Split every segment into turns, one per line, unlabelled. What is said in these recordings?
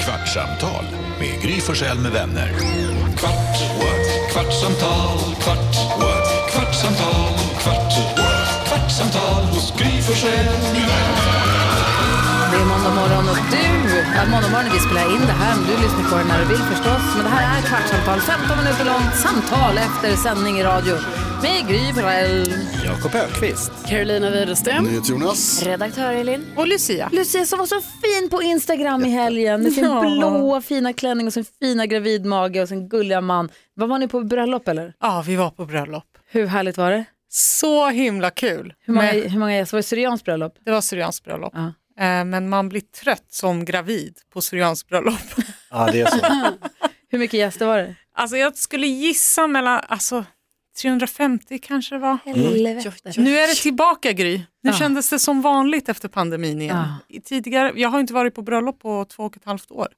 Kvartsamtal med Gry Forssell med vänner. Kvart, what? kvartsamtal, kvart, what? kvartsamtal, kvart, what? kvartsamtal hos Gry Forssell med vänner.
Det är måndag morgon och du, ja, måndag morgon när vi spelar in det här, men du lyssnar på det när du vill förstås. Men det här är Kvartsamtal, 15 minuter långt samtal efter sändning i radio med Gry Forell.
Jakob Ökvist.
Carolina Widerström.
Jonas.
Redaktör Elin.
Och Lucia. Lucia som var så fin på Instagram i helgen med sin
Ja.
blåa fina klänning och sin fina gravidmage och sin gulliga man. Var var ni på bröllop eller?
Ja, vi var på bröllop.
Hur härligt var det?
Så himla kul.
Hur många,
Men
hur många gäster? Var det syrianskt bröllop?
det var syrianskt bröllop.
Ja.
Eh, Men man blir trött som gravid på syrianskt bröllop.
Ja, det är så.
Hur mycket gäster var det?
Alltså jag skulle gissa mellan alltså, 350 kanske det var.
Helvete.
Nu är det tillbaka Gry. Nu
Ja.
kändes det som vanligt efter pandemin igen.
Ja.
I Tidigare, jag har inte varit på bröllop på två och ett halvt år.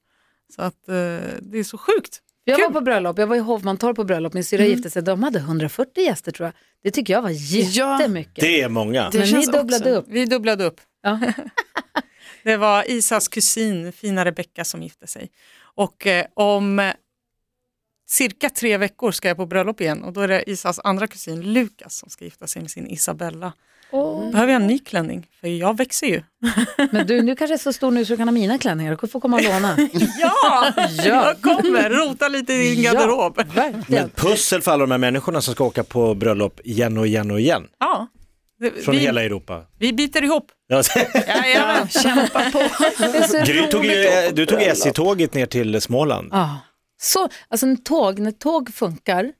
Så att, eh, det är så sjukt.
Jag var
Kul. Mm.
på bröllop, jag var i Hovmantorp på bröllop, min syrra gifte sig, de hade 140 gäster tror jag. Det tycker jag var jättemycket.
Det är många.
Men ni dubblade upp.
Vi dubblade upp.
Ja.
Det var Isas kusin, fina Rebecka, som gifte sig. Och eh, om eh, cirka tre veckor ska jag på bröllop igen och då är det Isas andra kusin Lukas som ska gifta sig med sin Isabella. Behöver jag en ny klänning? För jag växer ju.
Men du, nu kanske är så stor nu så du kan ha mina klänningar, du får komma och låna.
Ja,
Ja.
jag kommer rota lite i din
Ja.
garderob.
Verkligen.
Men pussel för alla de här människorna som ska åka på bröllop igen och igen och igen.
Ja.
Från hela
Vi,
Europa.
vi biter ihop.
Ja,
Jajamän.
Det är så
Gry tog
roligt.
ju, du tog SJ-tåget ner till Småland.
Ja. Så, alltså en tåg, när tåg funkar,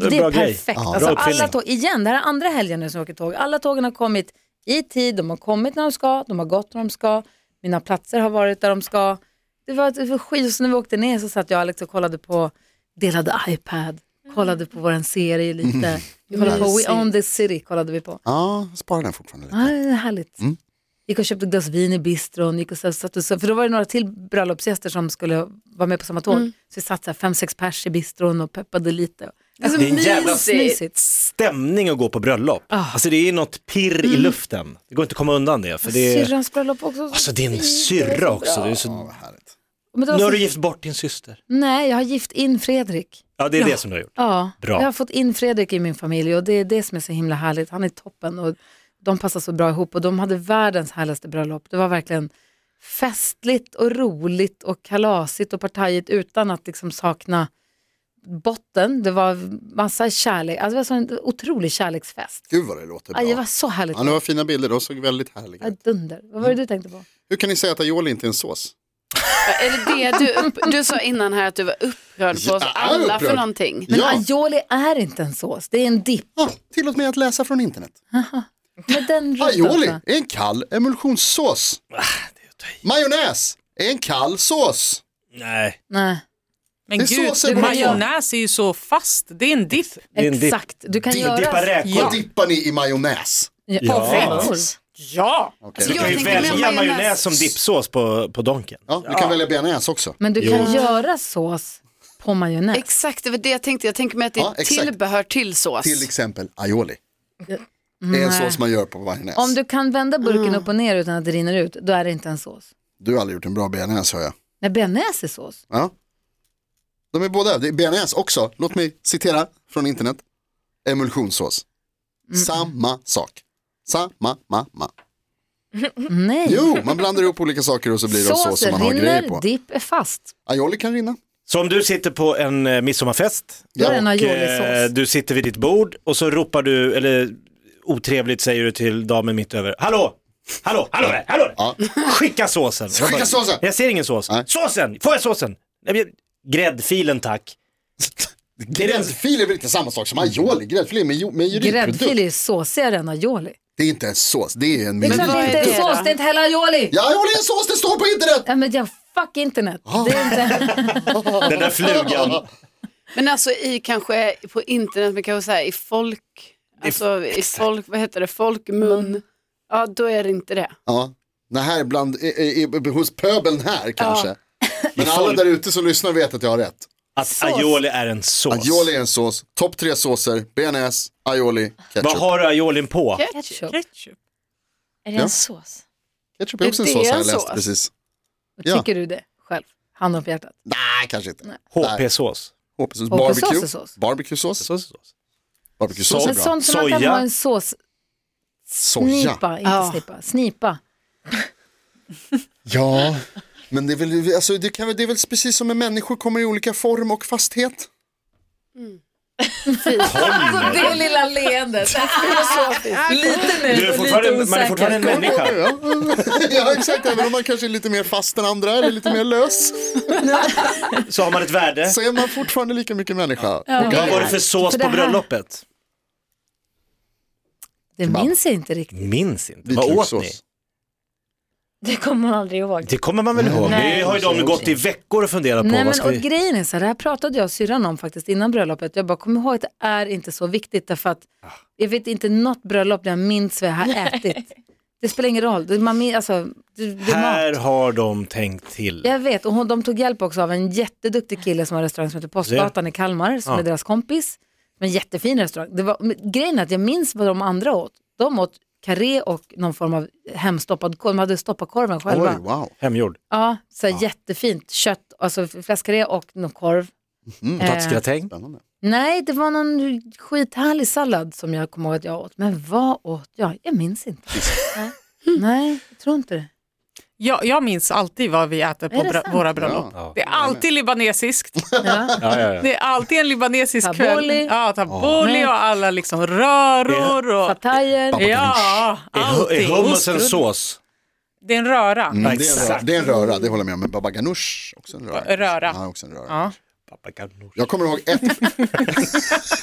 det är,
bra grej.
perfekt.
Ja,
alltså,
bra uppfinning.
alla tåg, igen, det här är andra helgen nu som jag åker tåg. Alla tågen har kommit i tid, de har kommit när de ska, de har gått när de ska, mina platser har varit där de ska. Det var, det var skit, så när vi åkte ner så satt jag och Alex och kollade på, delade iPad, kollade på vår serie lite. Vi kollade på We Own This City, kollade vi på.
Ja, spara den fortfarande
Ja,
lite.
det är härligt.
Mm.
Gick och köpte ett glas vin i bistron, gick och så- satt och, så- för då var det några till bröllopsgäster som skulle vara med på samma tåg. Så vi satt så här fem, sex pers i bistron och peppade lite. Det är så
Det är en jävla
mysigt.
Stämning att gå på bröllop. Alltså det är något pirr i luften. Det går inte att komma undan Alltså, det. För det är,
Syrrans bröllop också.
alltså din syrra också. Det är så,
Härligt.
Men det var
nu
så-
har du gift bort din syster.
Nej, jag har gift in Fredrik.
Ja, det är det som du har gjort.
Ja,
Bra.
jag har fått in Fredrik i min familj och det är det som är så himla härligt. Han är toppen och de passar så bra ihop och de hade världens härligaste bröllop. Det var verkligen festligt och roligt och kalasigt och partajigt utan att liksom sakna botten. Det var massa kärlek, alltså det var så en otrolig kärleksfest.
Gud vad det låter bra.
Ja, det var så härligt.
Ja, det var fina bilder, de såg väldigt härliga
Ja,
ut.
Dunder. Vad var det du tänkte på?
Hur kan ni säga att aioli inte är en sås?
Eller det du, upp, du sa innan här att du var upprörd på
Jag
oss
är
alla
upprörd.
för någonting.
Men
Ja,
aioli är inte en sås, det är en dipp.
ja, tillåt mig att läsa från internet.
Med den rutan
Aioli
så.
är en kall emulsionssås. Majonnäs är en kall sås.
Nej,
Nej,
Men
Det är
gud,
såsen man får.
majonnäs är ju så fast. Det är en dipp.
det är en dipp.
exakt. Du kan
Dipp-
göra...
Dippa räkor.
Vad dippar ni i majonnäs?
Ja.
Ja.
räkor.
Ja.
Okej.
Du kan ju
Jag tänker
välja
med majonnäs.
majonnäs som dippsås på, på donken.
Ja, du kan välja bearnaise också.
Men du kan göra sås på majonnäs.
Exakt, det var det jag tänkte. Jag tänker mig att det
Ja, exakt.
tillbehör till sås.
Till exempel aioli. Det är en sås man gör på majonnäs.
Om du kan vända burken upp och ner utan att det rinner ut, då är det inte en sås.
Du har aldrig gjort en bra bearnaise hör jag.
Nej, bearnaise är sås.
Ja. De är båda, det är bearnaise också. Låt mig citera från internet. Emulsionssås.
Mm.
Samma sak. Samma, ma, ma.
Nej.
Jo, man blandar ihop olika saker och så blir det en sås som man har grejer
rinner,
på.
dipp är fast.
Aioli kan rinna.
Så om du sitter på en eh, midsommarfest
Då är det en
eh,
aioli-sås.
du sitter vid ditt bord och så ropar du, eller otrevligt säger du till damen mitt över, hallå, hallå, hallå där, hallå där.
Ja.
Skicka såsen. Jag
Skicka såsen.
Jag ser ingen sås.
Nej.
Såsen, får jag såsen? Nej, men- Gräddfilen tack.
Gräddfil är väl inte samma sak som aioli? Gräddfil är med
Gräddfil är
mejeriprodukt.
ju såsigare än aioli.
Det är inte en sås, det är en
Det är klart
vad
det
är
inte är
det
sås,
då?
det är inte heller aioli.
Ja, aioli är en sås, det står på internet!
Ja, men jag, fuck internet.
Ah.
Det är inte...
Den där flugan.
Men alltså i kanske på internet, men kanske så här i folk, alltså i folk, vad heter det, folkmun. Ja, då är det inte det.
Ja, det här är bland, i, i, i, hos pöbeln här kanske. Men alla där ute som lyssnar vet att jag har rätt.
Att aioli är en sås.
Aioli är en sås, topp tre såser, bearnaise, aioli, ketchup.
Vad har du aiolin på?
Ketchup.
Ketchup.
Är det
Ja.
en sås?
Ketchup är också en
Det är
sås har
en
jag läst
sås.
precis. Ja.
Tycker du det själv? Handen på hjärtat.
Nej, kanske inte. Nej.
HP-sås.
HP-sås
HP-sås.
är
Barbecue.
sås.
Barbecuesås.
Sås, sås.
Barbecuesås är
Men
bra.
sånt som man kan
Soja.
ha en sås.
Soja.
Snipa, inte
Ja.
snippa. Snipa.
Ja, men det är väl, alltså, det kan, väl- det är väl precis som med människor kommer i olika form och fasthet.
Alltså det lilla leendet. Lite
Du är fortfarande, man är fortfarande en människa.
Ja, ja exakt, även om man kanske är lite mer fast än andra eller lite mer lös
Så har man ett värde.
så är man fortfarande lika mycket människa. Och
Vad var det för sås
För det
på
här-
bröllopet?
Det minns jag inte riktigt.
Minns inte. Vad åt ni?
vitlökssås.
Det kommer man aldrig ihåg.
Det kommer man väl ihåg?
Nej.
Det har ju de gått i veckor och funderat på.
Nej,
vad
men,
ska
och
vi...
grejen är så här, det här pratade jag och syrran om faktiskt innan bröllopet. Jag bara, kom ihåg att det är inte så viktigt därför att
Ah.
jag vet inte något bröllop där jag minns vad jag har ätit. Det spelar ingen roll, det, man, min- alltså, det, det är
Här
mat.
har de tänkt till.
Jag vet, och hon, de tog hjälp också av en jätteduktig kille som har en restaurang som heter Postgatan i Kalmar, som
Ja.
är deras kompis. Men jättefin restaurang. Det var, men grejen är att jag minns vad de andra åt. De åt karré och någon form av hemstoppad korv. De hade stoppat korven själva.
Oj, wow.
Hemgjord.
Ja, så här jättefint kött, alltså fläskkarré och någon korv. Eh,
Platsgratäng.
Spännande.
nej, det var någon skithärlig sallad som jag kommer ihåg att jag åt. Men vad åt jag? Jag minns inte. nej. nej, jag tror inte det.
Jag, jag minns alltid vad vi äter på
det
bra,
sant?
våra bröllop.
Ja.
Det är alltid libanesiskt.
Ja.
Ja, ja, ja.
Det är alltid en libanesisk
Tabbouleh.
kväll. Ja, tabbouleh
Ja.
och alla liksom röror och...
Fatajer.
Ja,
Är, hu-
allting.
är hummus
Ost-
en sås?
Det är en röra.
Mm, det, är en röra,
Exakt.
det är en röra, det håller jag med om. Men baba ganoush, också en röra.
Röra.
Ja, också en röra.
Ja.
Jag kommer ihåg ett,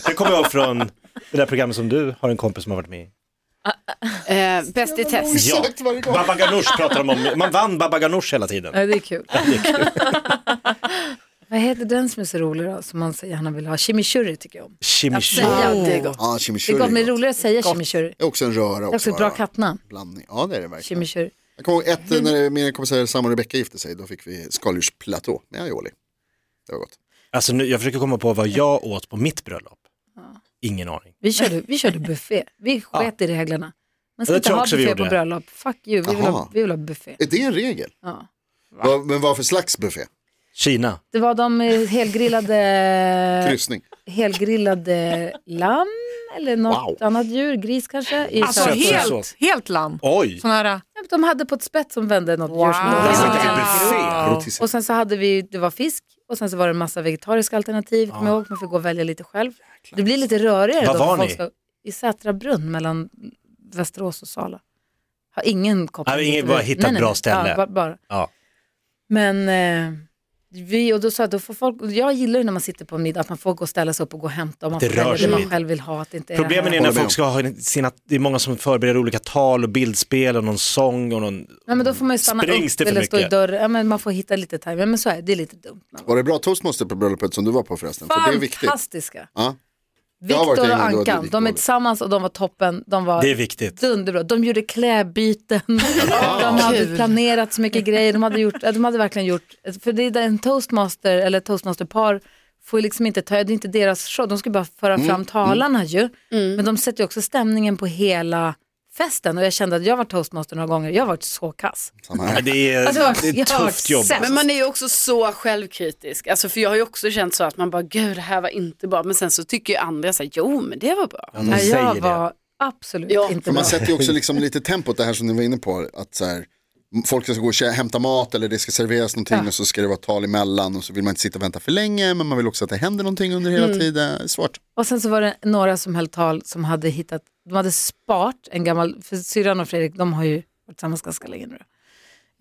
Det kommer jag ihåg från det där programmet som du har en kompis som har varit med i.
Eh, Bäst i test.
Ja, Baba Ganoush pratar de om. Man vann Baba Ganoush hela tiden.
Ja, det är kul. vad heter den som är så rolig då, som man så gärna vill ha? Chimichurri tycker jag om.
Chimichurri.
Säga, det är gott.
ja
Det är
chimichurri.
gott, men det är
gott.
roligare att säga chimichurri.
Det är också en röra.
Det är också ett bra Mm.
va?
kattnamn,
Blandning. Ja det är det verkligen.
chimichurri.
Jag kommer ihåg ett, eh, när mina kompisar Sam och Rebecca gifte sig, då fick vi skaldjursplatå med aioli. Det var gott.
Alltså, nu, jag försöker komma på vad jag åt på mitt bröllop. Ingen aning.
Vi körde, vi körde buffé. Vi sket i reglerna. Man ska
Det
inte
tror jag
ha
också vi
buffé
gjorde.
på bröllop. Fuck you, vi vill,
Jaha.
ha, vi vill ha buffé.
Är det en regel?
Ja. Eh,
Va? Men vad för slags buffé?
Kina.
Det var de eh, helgrillade,
Kryssning?
helgrillade lamm eller något
Wow.
annat djur, gris kanske. I
Alltså
salt.
Sötsös.
helt, helt lamm.
Oj!
Sån här,
De hade på ett spett som vände något djur. Som
Wow.
de
Alltså,
hade.
det är buffé.
Rotisserie.
Och sen så hade vi, det var fisk och sen så var det en massa vegetariska alternativ. Kommer jag ihåg, man fick gå och välja lite själv. Det blir lite rörigare
Var
då. för
alltså. var
folk
ni?
ska- I Sätra brunn mellan Västerås och Sala. Har ingen koppling.
Nej, ingen-
till
bara
det.
hitta ett bra ställe.
Ja, bara, bara.
Ja.
Men eh, vi, och då sa jag, då får folk, jag gillar ju när man sitter på en middag att man får gå och ställa sig upp och gå och hämta om man
Det
får
rör
välja
sig
det man
lite.
själv vill ha. Att det inte är
Problemen
det här.
är när
Håller med
folk ska ha sina, det är många som förbereder olika tal och bildspel och någon sång och någon...
Nej, men då får man ju stanna
Sprängs
upp
det för
eller stå i
mycket?
dörren. Ja, men man får hitta lite tajming. Men så är det, det är lite dumt. Men-
Var det bra toastmaster på bröllopet som du var på förresten? För det är viktigt.
Fantastiska.
Ja. Jag
Viktor
har varit
och
där innan, då var det
Ankan,
riktigt
de är
dåligt.
tillsammans och de var toppen. De var
Det är viktigt.
dunderbra. De gjorde klädbyten, de hade
Kul.
planerat så mycket grejer. De hade, gjort, de hade verkligen gjort, för det är där en toastmaster eller toastmasterpar får ju liksom inte ta, det är inte deras show, de ska bara föra
Mm.
fram talarna ju. Men de sätter ju också stämningen på hela festen och jag kände att jag var toastmaster några gånger, jag har varit så kass.
Samma
Ja,
här.
Det är,
Alltså,
det är
jag
ett
har
tufft jobb.
sett-
Men man är ju också så självkritisk. Alltså, för jag har ju också känt så att man bara, gud det här var inte bra. Men sen så tycker ju andra så här, jo men det var bra.
Ja, de
Nej,
säger
jag
det.
var absolut
Ja.
inte
För
bra.
man sätter ju också liksom lite tempot, det här som ni var inne på. Att så här, folk ska gå och kä- hämta mat eller det ska serveras någonting och så ska det vara tal emellan och så vill man inte sitta och vänta för länge men man vill också att det händer någonting under hela tiden. Det är svårt.
Och sen så var det några som höll tal som hade hittat, de hade spart en gammal, för syrran och Fredrik, de har ju varit tillsammans ganska länge nu.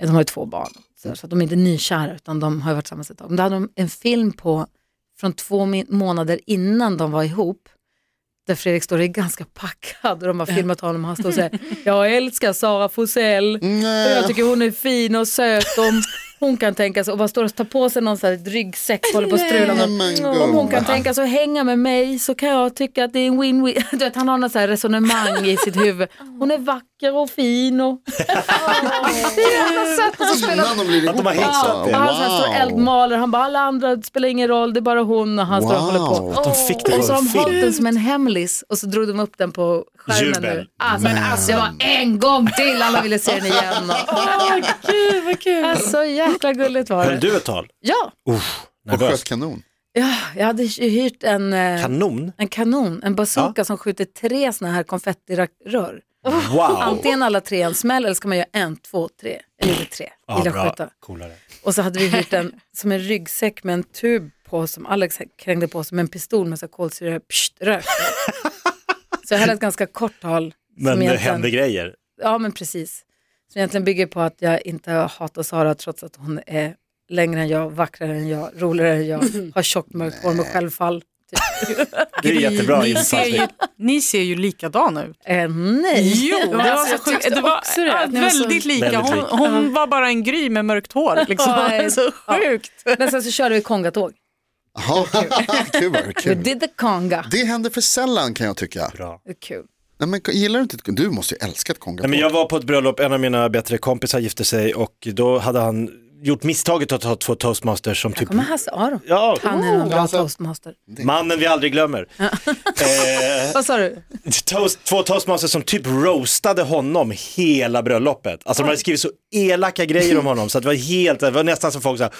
då. De har ju två barn, så, så att de är inte nykära utan de har ju varit tillsammans ett tag. Men då hade de en film på från två min- månader innan de var ihop, där Fredrik står och är ganska packad och de har filmat honom och han står och säger, jag älskar Sara Forsell. Och Jag tycker hon är fin och söt. Och hon kan tänka sig, och bara står och tar på sig någon sån här ryggsäck och håller på och strular. med
Men
den. Om hon kan
gumman.
tänka sig att hänga med mig så kan jag tycka att det är en win-win. Du vet, han har något så här resonemang i sitt huvud. Hon är vacker vacker och fin och... det är jävla sött. Och så spelar
Innan de blir ihop. Alltså,
de har hittat det.
och han så här står eldmaler, han bara alla andra det spelar ingen roll, det är bara hon och han står och håller på.
Wow.
Åh.
De fick det
Och så
på
har de hållit den
film.
som en hemlis och så drog de upp den på skärmen
Jubel.
nu. Alltså, men alltså det var en gång till alla ville se den igen.
Åh, gud vad kul.
Alltså jäkla gulligt var
Höll
det.
du ett tal?
Ja,
Och sköt
Nervös.
kanon.
ja jag hade ju hyrt en, eh,
Kanon?
en kanon, en bazooka som skjuter tre sådana här konfettirör.
Wow!
Antingen alla tre i en smäll eller ska man göra en, två, tre. Jag gjorde tre,
Ja,
ville jag
bra.
skjuta.
Coolare.
Och så hade vi hyrt en som en ryggsäck med en tub på som Alex krängde på som en pistol med så här kolsyra, pst, rök. Så jag höll ett ganska kort tal. som
Men det
egentligen-
hände grejer.
Ja men precis. Som egentligen bygger på att jag inte hatar Sara trots att hon är längre än jag, vackrare än jag, roligare än jag, har tjockt mörkt hår med självfall.
Det är jättebra
ni, ser ju,
infallsvinklar.
ni ser ju likadana ut.
Eh, nej.
det var så sjukt. Det var
också det,
ja,
att ni var så-
väldigt lika.
Väldigt
Hon,
lika.
hon var bara en gry med mörkt hår.
Ja,
Liksom. så
ja.
sjukt.
Men sen så körde vi kongatåg.
Jaha, kul vad det är
We
kul.
did the conga.
Det händer för sällan kan jag tycka.
Bra.
Det är Kul.
Nej, men, gillar du inte ett Du måste ju älska ett kongatåg.
Nej, men jag var på ett bröllop, en av mina bättre kompisar gifte sig och då hade han gjort misstaget att ha två toastmasters som typ...
Kommer Hasse Aro.
Ja, Oh.
Han är en bra
Alltså-
toastmaster.
mannen vi aldrig glömmer. eh,
Vad sa du?
toast, två toastmasters som typ roastade honom hela bröllopet. Alltså de hade skrivit så elaka grejer om honom så att det var helt, det var nästan som folk så här,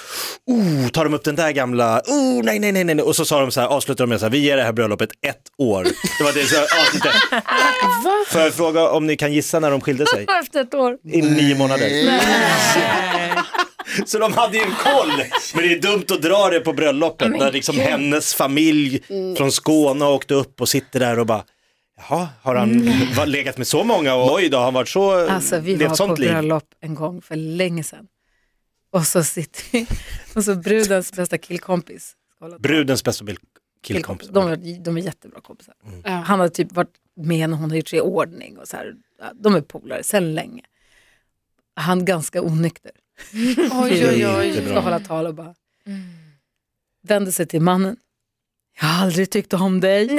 oh, tar de upp den där gamla, oh, nej, nej, nej, nej, nej." och så sa de så här, avslutade de med så här, vi ger det här bröllopet ett år. Det var det så här, avsnittet. Får jag fråga om ni kan gissa när de skilde sig?
Efter ett år.
I nio månader.
Nej.
Så de hade ju koll. Men det är dumt att dra det på bröllopet när liksom hennes familj från Skåne åkte upp och sitter där och bara Jaha, har han va- legat med så många och oj då, har han varit så,
Mm. Alltså vi
levt
var på
sånt liv?
bröllop en gång för länge sedan. Och så sitter vi, och så brudens bästa killkompis. Skål.
Brudens bästa bil- killkompis.
De, är- de är jättebra kompisar. Han har typ varit med när hon har gjort sig i ordning och så här. De är polare sedan länge. Han ganska onykter.
Oj, oj, Mm. oj.
Ska hålla tal och bara vänder sig till mannen. Jag har aldrig tyckt om dig.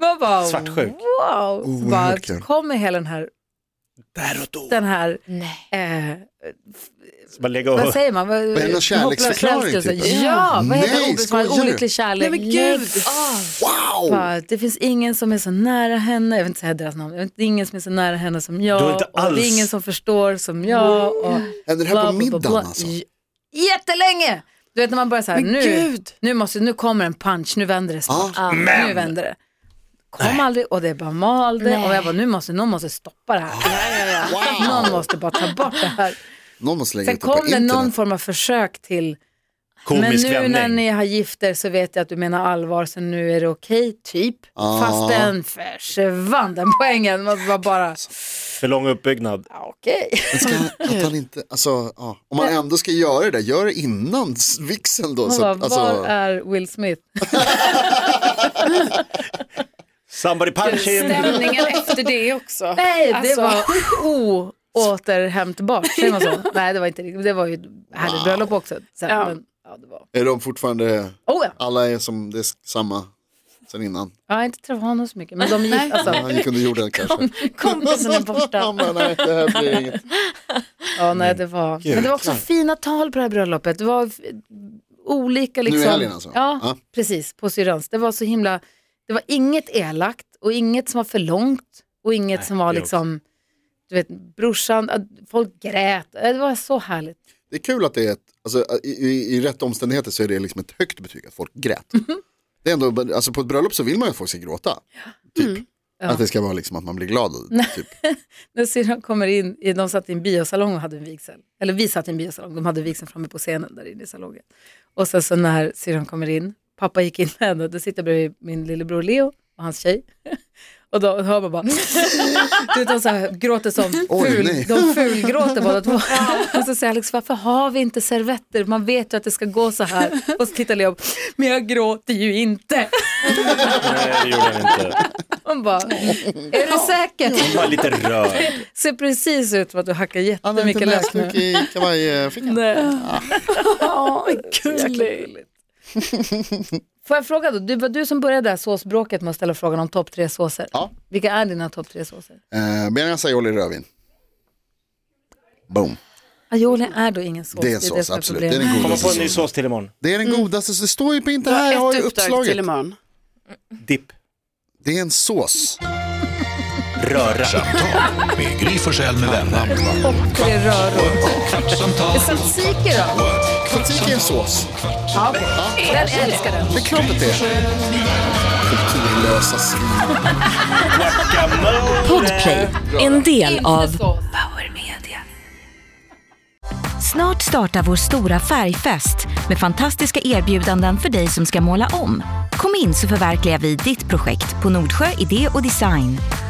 Man bara,
Svartsjuk.
Wow. Så bara,
Oerhört kul.
kommer hela den här,
Där och då.
den här
Nej.
eh,
Så bara lägga och...
vad säger man? Vad
är det någon kärleksförklaring,
hopplös förälskelse.
typ?
Ja, vad heter
Nej,
Nej, ordet? Vad är
skojar du?
Olycklig kärlek.
Nej men gud. Ah.
Wow!
Bara, det finns ingen som är så nära henne, jag vill inte säga deras namn, jag vet inte, det är ingen som är så nära henne som
Du
jag.
är inte
Och det
alls-
är ingen som förstår som jag. Och bla,
Händer det här på
bla, bla,
middagen
bla.
alltså?
J- Jättelänge! Du vet när man börjar så här,
Men
nu,
gud.
nu, måste, nu kommer en punch, nu vänder det snart.
Ja.
Nu vänder det. Kom aldrig och det bara malde
Nej.
och jag bara, nu måste någon måste stoppa det här.
Ah.
Någon måste bara ta bort det här.
Någon måste lägga
Sen
ut det på
kom det
internet.
någon form av försök till men
Komisk
nu när
vändning.
ni har gift er så vet jag att du menar allvar så nu är det okej, typ.
Ja.
Fast den försvann, den poängen. Man var bara,
För lång uppbyggnad.
ja, okej.
Men Ska han, att han inte, alltså, ja. Om man ändå ska göra det där, gör det innan s- vigseln då.
Man
Så,
bara,
att- alltså,
var är Will Smith?
Somebody punch him.
Stämningen efter det också.
Nej, det
Alltså.
var oåterhämtbart. Säger man så? Nej, det var inte riktigt. Det var ju ett härligt bröllop också. Sen,
Ja.
Men, ja, det var.
är de fortfarande,
Oh, ja.
alla är som, det är samma sen innan.
Jag har inte träffat honom så mycket, men de gick, alltså,
Han gick under jorden kanske.
Kompisen är
Han
borta.
bara, nej, det här blir inget.
ja,
Mm.
nej, det var. Men det var också fina tal på det här bröllopet. Det var f- olika liksom.
Nu i helgen alltså?
Ja,
Ja.
precis. På syrrans. Det var så himla, det var inget elakt och inget som var för långt och inget som var
det är
liksom, du vet, brorsan, att folk grät. Det var så härligt.
Det är kul att det är ett, alltså, i, i, i rätt omständigheter så är det liksom ett högt betyg att folk grät. Det är ändå, alltså på ett bröllop så vill man ju att folk ska gråta. Typ. Att det ska vara liksom att man blir glad. Typ.
När syrran kommer in, i- de satt i en biosalong och hade en vigsel. Eller vi satt i en biosalong, de hade vigseln framme på scenen där inne i salongen. Och sen så när syrran kommer in, pappa gick in med henne, då sitter jag bredvid min lillebror Leo och hans tjej. Och då hör man bara, du vet de så här, gråter som
Oj,
ful,
nej.
de fulgråter båda två. Och så säger Alex, varför har vi inte servetter? Man vet ju att det ska gå så här. Och så tittar Leo, men jag gråter ju inte.
Nej, det gjorde han inte.
Man bara, är du säker?
Bara lite rörd.
Ser precis ut som att du hackar
Han har inte
jättemycket lök nu.
näsduk i eh, kavajfickan.
Nej.
Åh, gulligt.
Får jag fråga då, det var du som började det här såsbråket med att ställa frågan om topp tre såser.
Ja.
Vilka är dina topp tre såser?
Eh, Benjamin Assaioli rödvin. Boom.
Aioli är då ingen sås.
Det är en
det
sås,
som är
absolut. Det är
problemet.
den
Komma på en
godaste
ny
såsen.
sås till imorgon.
Det är den godaste, så det står ju på inte här, jag har ju
Mm. Ett uppdrag till
uppslaget.
imorgon.
Dipp.
Det är en sås.
Röra.
Kvartsamtal med Gry Forssell med vänner.
Topp tre röror.
Kvartsamtal,
Tzatziki då?
Tzatziki är en sås.
Ja, okej. Den älskar den.
Det är klart att det är. Kulturlösa svin.
Podplay, en del av
sås.
Power Media. Snart startar vår stora färgfest med fantastiska erbjudanden för dig som ska måla om. Kom in så förverkligar vi ditt projekt på Nordsjö Idé och Design.